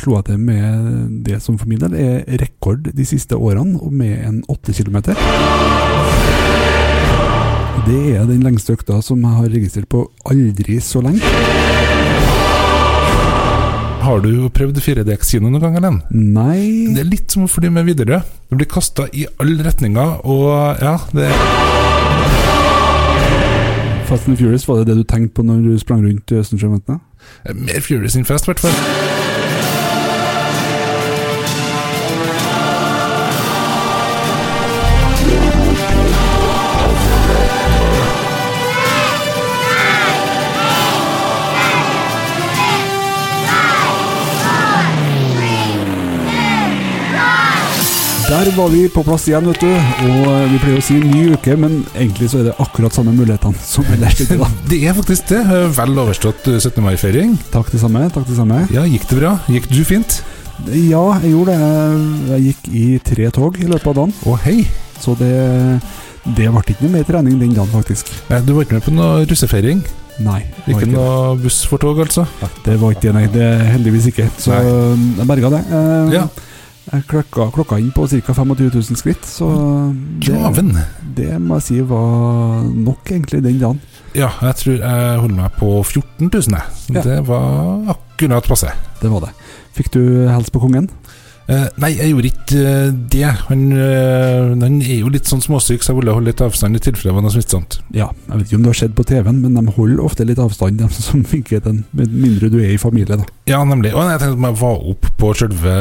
kloa til med det som for min del er rekord de siste årene, og med en 8 km. Det er den lengste økta som jeg har registrert på aldri så lenge. Har du prøvd 4DX-kino noen gang, Ellen? Nei Det er litt som å fly med Widerøe. Du blir kasta i alle retninger, og ja det, Fast and Furious, var det det du tenkte på når du sprang rundt Østensjøventene? Mer Furious enn Fast, i hvert fall. Der var vi på plass igjen, vet du. Og eh, vi pleier å si ny uke, men egentlig så er det akkurat samme mulighetene som ellers. i dag. Det er faktisk det. Vel overstått eh, 17. mai-feiring. Takk det samme. Takk det samme. Ja, gikk det bra? Gikk du fint? Ja, jeg gjorde det. Jeg gikk i tre tog i løpet av dagen, Å, hei! så det det ble ikke noe mer trening den dagen, faktisk. Nei, Eh, du var ikke med på noe russefeiring? Nei. det var Ikke ikke det. noe buss for tog, altså? Det var ikke det, nei. Det er heldigvis ikke. Så jeg berga det. Eh, Ja. Jeg klokka, klokka inn på ca. 25 000 skritt, så det, Graven! det må jeg si var nok, egentlig, den dagen. Ja, jeg tror jeg holder meg på 14 000, jeg. Så Ja. Det var akkurat passe. Det var det. Fikk du helse på kongen? Eh, nei, jeg gjorde ikke eh, det. Han, eh, han er jo litt sånn småsyk, så jeg ville holde litt avstand i tilfelle det var noe smittsomt. Ja, jeg vet ikke om det har skjedd på TV-en, men de holder ofte litt avstand, de som ikke den, med mindre du er i familie, da. Ja, nemlig. Og jeg tenkte at jeg var opp på sjølve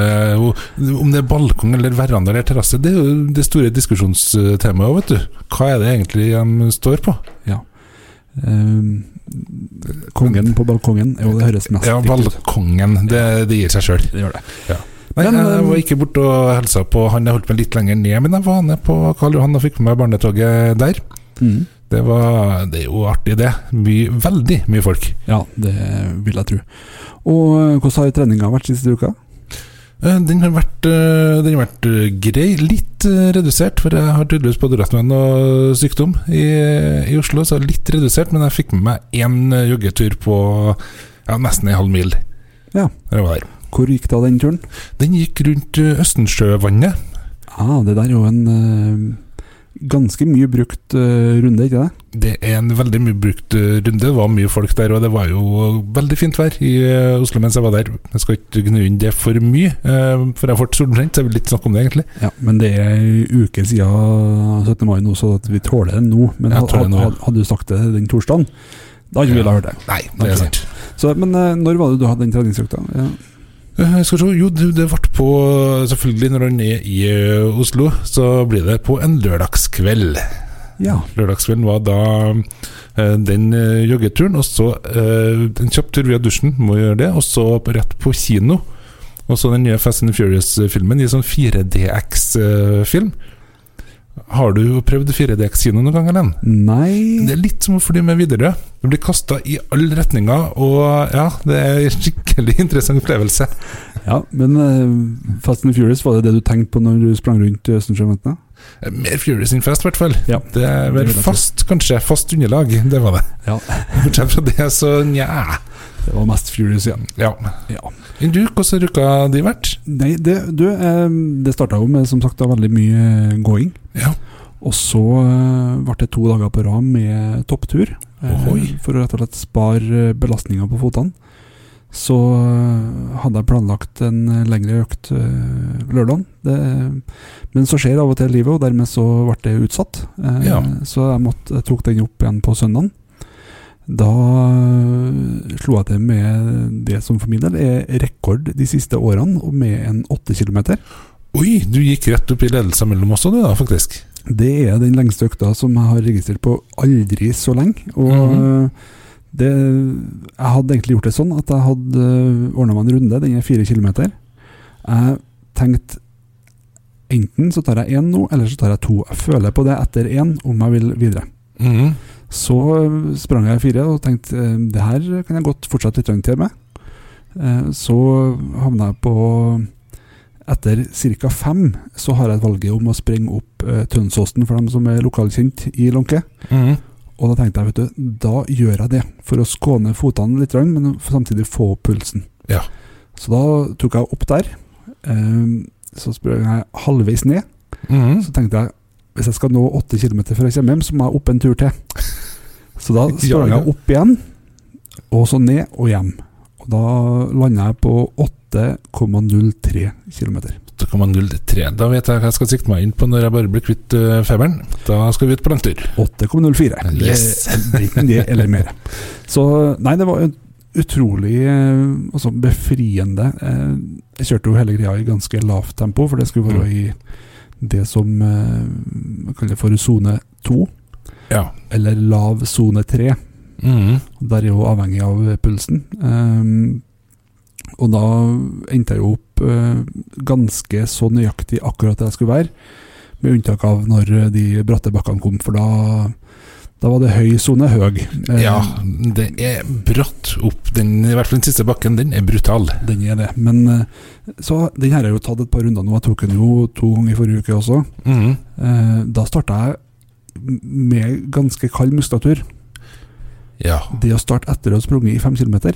Om det er balkong eller veranda eller terrasse, det er jo det store diskusjonstemaet òg, vet du. Hva er det egentlig de står på? Ehm, kongen på balkongen, jo, det høres mest Ja, riktig ut. balkongen. Det, det gir seg sjøl. Det gjør det. Nei, Men, jeg eh, var ikke borte og helsa på han jeg holdt meg litt lenger ned, men jeg var nede på Karl Johan og fikk med meg barnetoget der. Mm. Det, var, det er jo artig, det. Mye, veldig mye folk. Ja, det vil jeg tro. Og eh, hvordan har treninga vært siste uka? Eh, Den har vært, eh, den har vært eh, grei. Litt eh, redusert, for jeg har tydeligvis både rødtmenn og sykdom i, i Oslo. Så litt redusert, men jeg fikk med meg én eh, joggetur på ja, nesten en halv mil. Ja. Da jeg var der. Hvor gikk da den turen? Den gikk rundt eh, Østensjøvannet. Ah, det der er jo en eh, ganske mye brukt eh, runde, ikke det? Det er en veldig mye brukt eh, runde. Det var mye folk der, og det var jo veldig fint vær i eh, Oslo mens jeg var der. Jeg skal ikke gnu inn det for mye, eh, for jeg ble solbrent, så jeg vil ikke snakke om det, egentlig. Ja, men det er ei uke siden 17. mai nå, så at vi tåler det nå. Men Jeg had- tåler det nå, ja. had- hadde du sagt det den torsdagen, da hadde vi Ja. ville ha hørt det. Nei, det er sant. Så, men eh, når var det du hadde den treningsøkta? Ja. Eh, Skal vi se, jo det, det ble på Selvfølgelig når han er i eh, Oslo Så blir det på en lørdagskveld ja. Lørdagskvelden var da eh, Den eh, joggeturen Og så eh, en kjapp tur via dusjen Må gjøre det, og så rett på kino Og så den nye Fast and Furious-filmen I sånn 4DX-film eh, Har du prøvd 4DX-kino noen gang, Ellen? Det Nei er litt som å fly med Widerøe. Du blir kasta i alle retninger, og ja, det er en skikkelig interessant opplevelse. Ja, men eh, Fast and Furious, var det det du tenkte på når du sprang rundt Østensjøventene? Eh, Mer Furious enn Fast, i hvert fall. Ja. Det er Det vel vil jeg fast, kanskje. Fast underlag, det var det. Ja. Bortsett fra det, så nja. Det var mest Furious, ja. Ja. Ja. Enn du, hvordan har uka di vært? Nei, det, du, eh, det starta jo med som sagt da veldig mye gåing. Ja. Og så eh, ble det to dager på rad med topptur. eh, Ohoi. For å rett og slett spare eh, belastninga på fotene. Så eh, hadde jeg planlagt en eh, lengre økt eh, lørdagen. Det, eh, men så skjer av og til livet, og dermed så ble det utsatt. Eh, Ja. Så jeg, måtte, jeg tok den opp igjen på søndagen. Da eh, slo jeg til med det som for min del er rekord de siste årene, og med en åtte kilometer. Oi, du gikk rett opp i ledelsen mellom oss og du, da, faktisk. Det er den lengste økta som jeg har registrert på aldri så lenge. Og eh, Mhm. det, jeg hadde egentlig gjort det sånn at jeg hadde ordna meg en runde. Den er fire kilometer. Jeg tenkte enten så tar jeg én nå, eller så tar jeg to. Jeg føler på det etter én om jeg vil videre. Mhm. Så eh, sprang jeg fire og tenkte eh, det her kan jeg godt fortsette litt til med. Eh, Så havna jeg på Etter ca. fem så har jeg valget om å sprenge opp eh, Tønsåsen for dem som er lokalkjent i Lånke. Mhm. Og da tenkte jeg vet du, da gjør jeg det, for å skåne fotene litt, grann, men samtidig få opp pulsen. Ja. Så da tok jeg opp der. Eh, så sprang jeg halvveis ned. Mhm. Så tenkte jeg hvis jeg skal nå 8 km før jeg kommer hjem, så må jeg opp en tur til. Så da Ja, sprang ja. jeg opp igjen, og så ned og hjem. Og da landa jeg på 8,03 km. 8,03. Da vet jeg hva jeg skal sikte meg inn på når jeg bare blir kvitt eh, feberen. Da skal vi ut på langtur. 8,04. Det- Yes. Enten det eller mer. Så nei, det var en utrolig eh, altså, befriende. Eh, jeg kjørte jo hele greia i ganske lavt tempo, for det skulle være i det som eh, man kaller for sone 2, Ja. eller lav sone 3. Mhm. Der er jo avhengig av pulsen. Ehm, og da endte jeg jo opp eh, ganske så nøyaktig akkurat der jeg skulle være, med unntak av når eh, de bratte bakkene kom, for da, da var det høy sone høy. Eh, Ja, det er bratt opp. Den, I hvert fall den siste bakken, den er brutal. Den er det. Men eh, så den her har jeg jo tatt et par runder nå. Jeg tok den jo to ganger i forrige uke også. Mhm. Eh, da starta jeg m- med ganske kald muskulatur. Ja. Det å starte etter å ha sprunget i fem kilometer,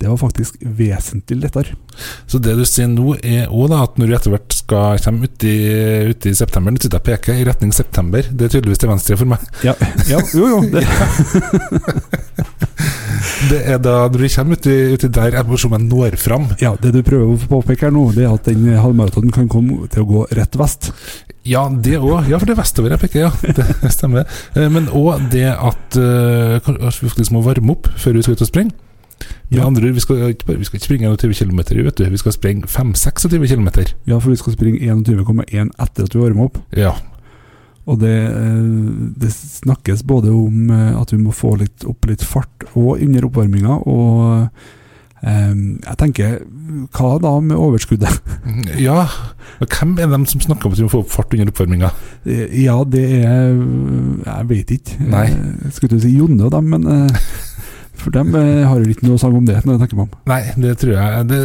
det var faktisk vesentlig lettere. Så det du sier nå, er også da at når du etter hvert skal komme ut i, ut i september Nå sitter jeg og peker i retning september. Det er tydeligvis til venstre for meg. Ja, ja jo, jo. Det, Det er da når du kommer uti, uti der jeg må se om jeg når fram. Ja, Det du prøver å påpeke her nå, det er at den eh, halvmaratonen kan komme til å gå rett vest. Ja, det òg. Ja, for det er vestover jeg peker, ja. Det stemmer. Eh, Men òg det at eh, kanskje vi faktisk må varme opp før vi skal ut og springe. Med Ja. andre ord, vi skal, ikke bare- vi skal ikke springe 21 km, vet du. vi skal springe 5-26 km. Ja, for vi skal springe 21,1 etter at vi varmer opp. Ja. Og det, eh, det snakkes både om eh, at vi må få litt, opp litt fart og under oppvarminga, og eh, jeg tenker Hva da med overskuddet? ja. Og Hvem er dem som snakker om at vi må få opp fart under oppvarminga? Eh, Ja, det er Jeg vet ikke. Nei. Eh, Skulle til å si Jonne og dem, men eh, For dem eh, har jo ikke noe sang om det, når jeg tenker meg om. Nei, det tror jeg det,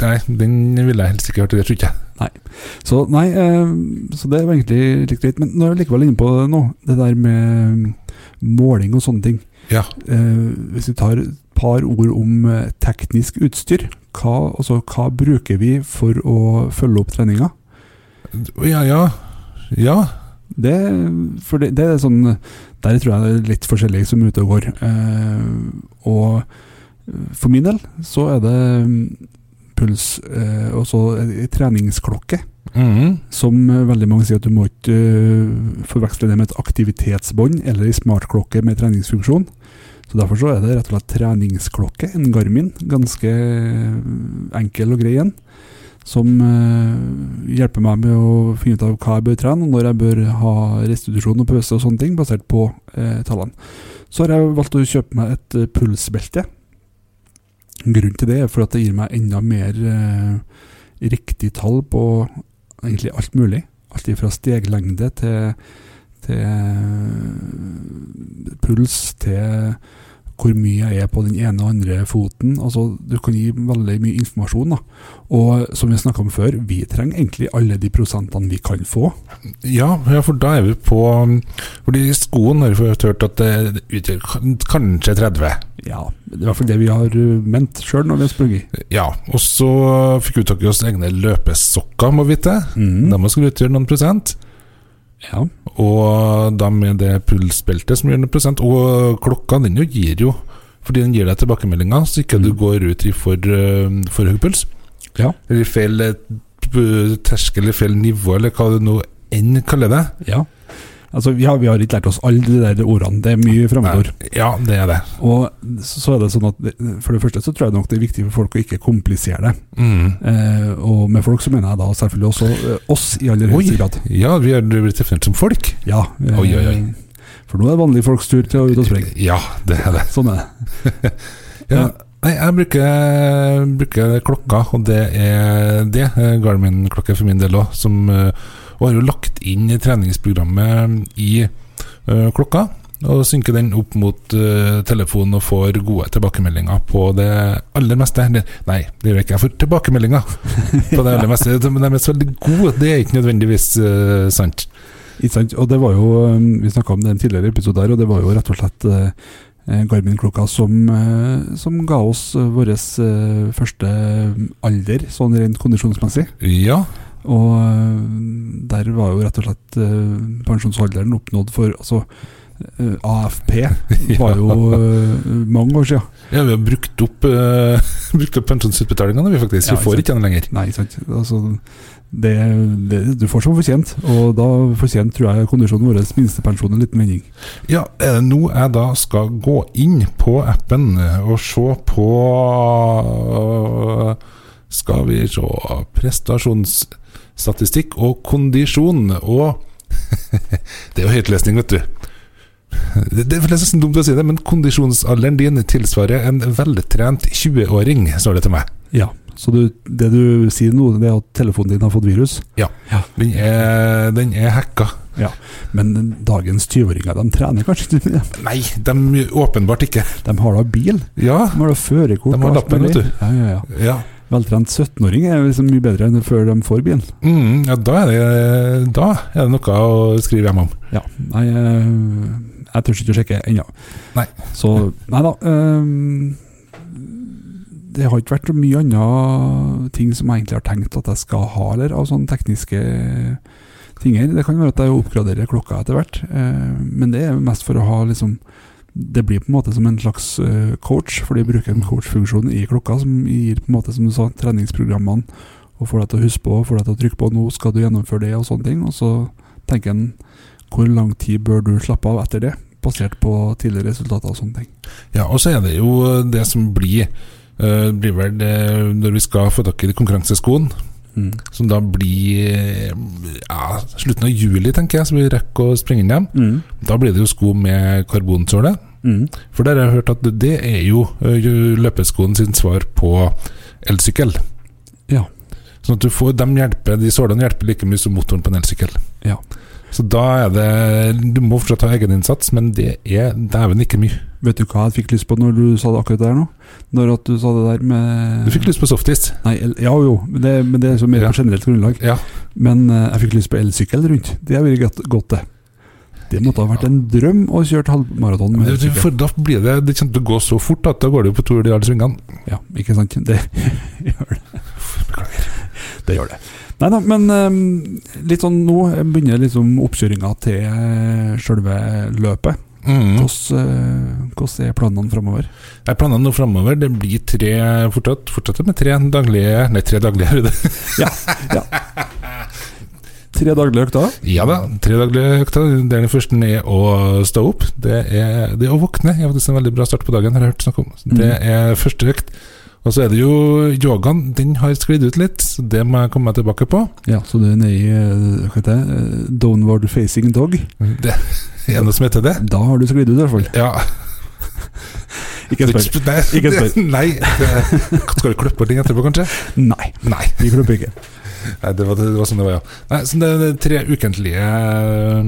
Nei, den ville jeg helst ikke hørt. Det tror ikke jeg. Så nei, eh, så det var egentlig litt greit. Men nå er jeg likevel inne på det nå, det der med eh, måling og sånne ting. Ja. Eh, hvis vi tar et par ord om eh, teknisk utstyr, hva, altså, hva bruker vi for å følge opp treninga? Ja, ja. Ja. Det, for det, det er sånn Der tror jeg det er litt forskjellig som er ute og går. Eh, og eh, for min del så er det mm, puls, eh, og så eh, treningsklokke. Mhm. Som eh, veldig mange sier at du må ikke eh, forveksle det med et aktivitetsbånd eller ei smartklokke med treningsfunksjon. Så Derfor så er det rett og slett treningsklokke, en Garmin, ganske eh, enkel og grei en, som eh, hjelper meg med å finne ut av hva jeg bør trene, og når jeg bør ha restitusjon og pause og sånne ting, basert på eh, tallene. Så har jeg valgt å kjøpe meg et eh, pulsbelte. Grunnen til det er for at det gir meg enda mer eh, riktig tall på egentlig alt mulig. Alt fra steglengde til, til eh, puls, til hvor mye jeg er på den ene og andre foten. Altså, du kan gi veldig mye informasjon. da. Og som vi snakka om før, vi trenger egentlig alle de prosentene vi kan få. Ja, ja, for da er vi på um, Fordi skoen har vi fått hørt at det utgjør kan- kanskje 30. Ja, det er i hvert fall det vi har uh, ment sjøl når vi har sprunget. Ja, og så fikk vi tak i oss egne løpesokker, må vi vite. Mm. De skulle utgjøre noen prosent. Ja. Og da med det pulsbeltet som gjør noen prosent. Og klokka, den jo gir jo Fordi den gir deg tilbakemeldinger, så ikke du Mm. går ut i for, eh, for høy puls. Ja. Eller feil eh, p- terskel, eller feil nivå, eller hva du nå enn kaller det. ja. Altså, vi har, vi har ikke lært oss alle de der ordene. Det er mye fremmedord. Ja, det er det. Og så er det sånn at det- For det første så tror jeg nok det er viktig for folk å ikke komplisere det. Mm. Eh, og med folk så mener jeg da selvfølgelig også eh, oss i aller høyeste Oi. grad. Ja, vi har blitt definert som folk. Ja, eh, Oi, oi, oi. For nå er det vanlige folks tur til å ut og springe. Ja, det er det. Sånn er det. Ja. Nei, jeg bruker, bruker klokka, og det er det. eh, Garmin-klokke for min del òg. Og har jo lagt inn i treningsprogrammet i eh, klokka. Og synker den opp mot eh, telefonen og får gode tilbakemeldinger på det aller meste. Eller, Nei, det gjør jeg ikke. Jeg får tilbakemeldinger på det aller meste. Men de er så veldig gode. Det er ikke nødvendigvis eh, sant. Ikke sant? Og det var jo eh, Vi snakka om det i en tidligere episode her, og det var jo rett og slett eh, eh, Garmin-klokka som, eh, som ga oss eh, vår eh, første alder, sånn rent kondisjonsmessig. Ja, Og eh, der var jo rett og slett eh, pensjonsalderen oppnådd for altså, eh, AFP var jo eh, mange år siden. ja vi har brukt opp, eh, brukt opp pensjonsutbetalingene, vi faktisk. Ja, vi får ikke ikke den lenger. Nei, ikke sant. Altså, det, det, du får som fortjent, og da fortjent tror jeg kondisjonen vår minstepensjon en liten vending. Ja, er det nå jeg da skal gå inn på appen eh, og se på eh, Skal vi se Prestasjonsstatistikk og kondisjon og Det er jo høytlesning, vet du. Det det er nesten dumt å si det, men kondisjonsalderen din tilsvarer en veltrent 20-åring, står det til meg. Ja, så du, det du sier nå, det er at telefonen din har fått virus. Den er, den er hacka. Men dagens 20-åringer, de trener kanskje ikke mye. Nei, de åpenbart ikke. De har da bil, Ja, de har da førerkort. De har og alt lappen, mulig. vet du. Ja, ja, ja. ja. Veltrent 17-åring er liksom mye bedre enn før de får bilen. Mm, ja da, er det, da er det noe å skrive hjem om. Ja, nei, jeg, jeg tør ikke å sjekke ennå. Nei. Så, nei da. ehm, det har ikke vært så mye andre ting som jeg egentlig har tenkt at jeg skal ha, eller av sånne tekniske ting her. Det kan være at jeg oppgraderer klokka etter hvert, eh, men det er mest for å ha liksom det blir på en måte som en slags eh, coach, for de bruker en coachfunksjon i klokka som gir på en måte, som du sa, treningsprogrammene, og får deg til å huske på, får deg til å trykke på 'nå skal du gjennomføre det', og sånne ting. Og så tenker en hvor lang tid bør du slappe av etter det, basert på tidligere resultater og sånne ting. Ja, og så er det jo det som blir eh, blir vel det, når vi skal få tak i de konkurranseskoen, som da blir eh, ja, slutten av juli, tenker jeg, så vi rekker å springe inn dem. Da blir det jo sko med karbonsåle. For der har jeg hørt at det er jo eh, jo løpeskoen sin svar på elsykkel. Ja. Sånn at du får dem hjelpe, de sålene hjelper like mye som motoren på en elsykkel. Ja. Så da er det Du må fortsatt ha egeninnsats, men det er dæven ikke mye. Vet du hva jeg fikk lyst på når du sa det akkurat der nå? Når at du sa det der med Du fikk lyst på softis. Nei, el- ja jo, men det, men det er så mer Ja. på generelt grunnlag. Ja. Men eh, jeg fikk lyst på elsykkel rundt. Det har vært godt, godt, det. Det måtte ha vært en drøm å kjøre halvmaraton med Men det- elsykkel. For da blir det Det kommer til å gå så fort at da går det jo på tur de alle svingene. Ja, ikke sant? Det gjør det. Det gjør det. Nei da, men eh, litt sånn nå begynner liksom oppkjøringa til eh, sjølve løpet. Mm. Hvordan, eh, hvordan er planene framover? Jeg planer nå framover. Det blir tre fortsatt, fortsatt med tre daglige Nei, tre daglige er det. Tre daglige økter? Ja da, tre daglige økter. Det er den første er å stå opp. Det er det å våkne. Det er faktisk en veldig bra start på dagen, har jeg hørt snakk om. Så Det Mm. er første økt. Og så er det jo yogaen. Den har sklidd ut litt, så det må jeg komme meg tilbake på. Ja, så du er nede i eh, hva heter det, eh, downward facing dog. Det er det noe som heter det. Da har du sklidd ut, i hvert fall. Ja. Ikke spør. Nei, Ikke spør. Nei. Det, skal du klippe ting etterpå, kanskje? Nei, Nei. vi klipper ikke. Nei, det var, det var sånn det var, ja. Nei, så det, det tre ukentlige eh,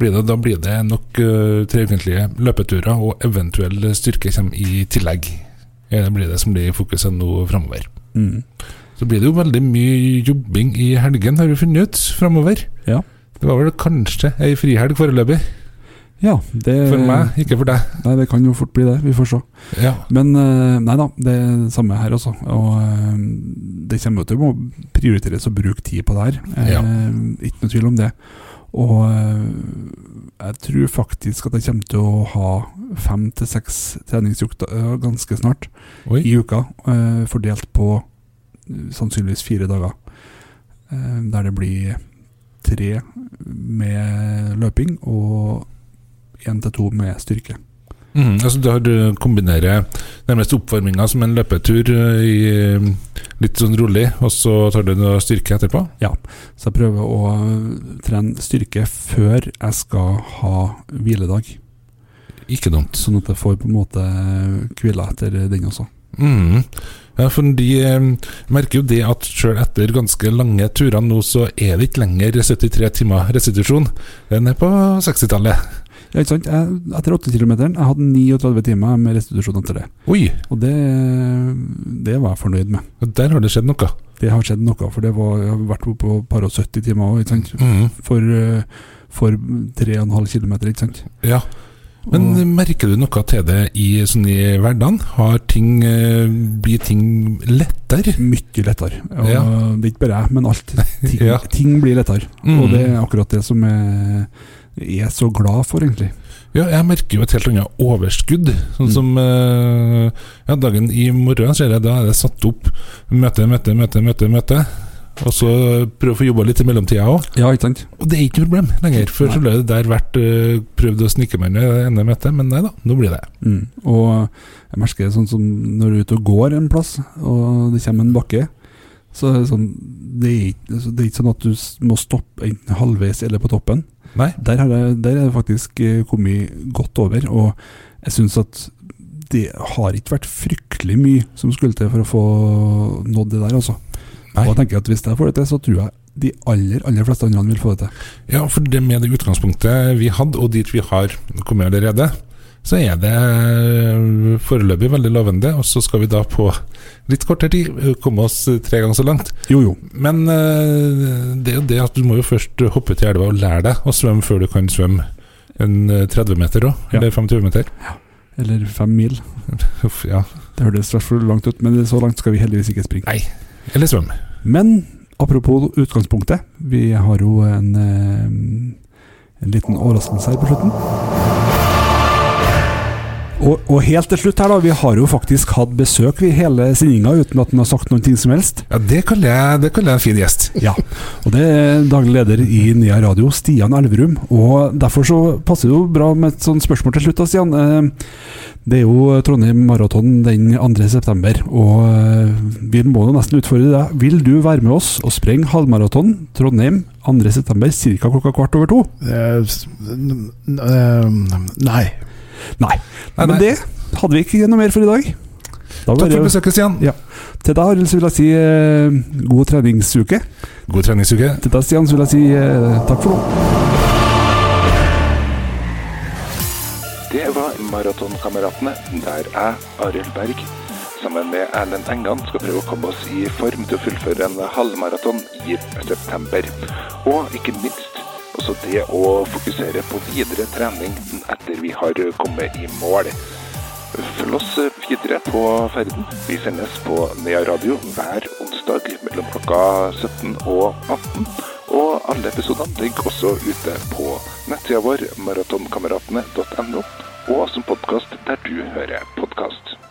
blir det, Da blir det nok eh, tre ukentlige løpeturer, og eventuell styrke kommer i tillegg. Eh, Det blir det som blir fokuset nå framover. Mm. Så blir det jo veldig mye jobbing i helgen, har vi funnet ut, framover. Ja. Det var vel kanskje ei frihelg foreløpig. Ja, det, For meg, ikke for deg. Nei, det kan jo fort bli det. Vi får se. Ja. Men eh, nei da, det er det samme her også. Og eh, det kommer jo til å må prioriteres å bruke tid på det her. Eh, Ja. Ikke noe tvil om det. Og eh, jeg tror faktisk at jeg kommer til å ha fem til seks treningsjukter eh, ganske snart Oi. i uka, eh, fordelt på eh, sannsynligvis fire dager. Eh, der det blir tre med løping og én til to med styrke. Mm, altså du har eh, kombinerer nærmest oppvarminga som en løpetur eh, i eh, litt sånn rolig, og så tar du noe styrke etterpå? Så jeg prøver å øh, trene styrke før jeg skal ha hviledag, Ikke dumt. sånn at jeg får på en måte hvile etter den også. Mm. Ja, for de eh, merker jo det at sjøl etter ganske lange turer nå, så er det ikke lenger 73 timer restitusjon. Den er på 60-tallet. Ja, ikke sant? Jeg, etter 8 km jeg hadde 39 timer med restitusjon etter det. Oi, Og det, det var jeg fornøyd med. der har det skjedd noe. Det har skjedd noe, for det var, jeg har vært oppe på par og 70 timer også, ikke sant? Mm. For, øh, for 3,5 km, ikke sant? Ja. Men Og- merker du noe til det i, sånn i hverdagen? Har ting, eh, blir ting lettere? Mye lettere. Og eh, Ja. Det er ikke bare jeg, men alt. Ting, Ja. ting blir lettere. Mm. Og det er akkurat det som jeg jeg er så glad for, egentlig. Ja, jeg merker jo et helt annet overskudd. Sånn Mm. som eh, ja, dagen i morgen ser jeg, da er det satt opp møte, møte, møte, møte. møte Og så prøve å få jobba litt i mellomtida òg. Ja, ikke sant? Og det er ikke noe problem lenger. Før Nei. så ble det der vært eh, prøvd å snike meg ned det ene møtet, men nei da, nå blir det. Mm. Og jeg merker det sånn som når du er ute og går en plass, og det kommer en bakke. Så er det, sånn, det, er ikke, altså, det er ikke sånn at du s- må stoppe enten halvveis eller på toppen. Nei. Der har jeg, der er jeg faktisk eh, kommet godt over, og jeg syns at det har ikke vært fryktelig mye som skulle til for å få nådd det der, altså. Nei. Og jeg tenker at hvis jeg får det til, så tror jeg de aller, aller fleste andre vil få det til. Ja, for det med det utgangspunktet vi hadde, og dit vi har kommet allerede, så er det eh, foreløpig veldig lovende. Og så skal vi da på litt kortere tid eh, komme oss eh, tre ganger så langt. Jo, jo. Men eh, det er jo det at du må jo først hoppe til elva og lære deg å svømme før du kan svømme en eh, 30 meter òg, Ja. eller 25 meter. Eller fem mil. Uff, ja. Det hørtes i hvert fall langt ut, men så langt skal vi heldigvis ikke springe. Eller svømme. Men apropos utgangspunktet, vi har jo en, eh, en liten overraskelse her på slutten. Og, og helt til slutt her, da. Vi har jo faktisk hatt besøk vi hele sendinga uten at han har sagt noen ting som helst. Ja, det kaller jeg, det kaller jeg en fin gjest. Ja, og det er daglig leder i Nya Radio, Stian Elverum. Og derfor så passer det jo bra med et sånt spørsmål til slutt, da, Stian. Eh, Det er jo Trondheim Maraton den 2. september, og eh, vi må jo nesten utfordre deg. Vil du være med oss og sprenge halvmaraton Trondheim 2. september ca. klokka kvart over to? Eh, s- n- n- eh, Nei. Nei, Men nei. det hadde vi ikke noe mer for i dag. Da Takk for bare, besøket, Stian. til deg, Arild, så vil jeg si eh, god treningsuke. God treningsuke. Til deg, Stian, så vil jeg si eh, takk for nå. Det var Maratonkameratene, der jeg, Arild Berg, sammen med Erlend Engan skal prøve å komme oss i form til å fullføre en halvmaraton i september. Og ikke minst også det å fokusere på videre trening etter vi har kommet i mål. Følg oss eh, videre på ferden. Vi sendes på Nea Radio hver onsdag mellom klokka 17 og 18. Og alle episodene ligger også ute på nettsida vår maratonkameratene.no, og som podkast der du hører podkast.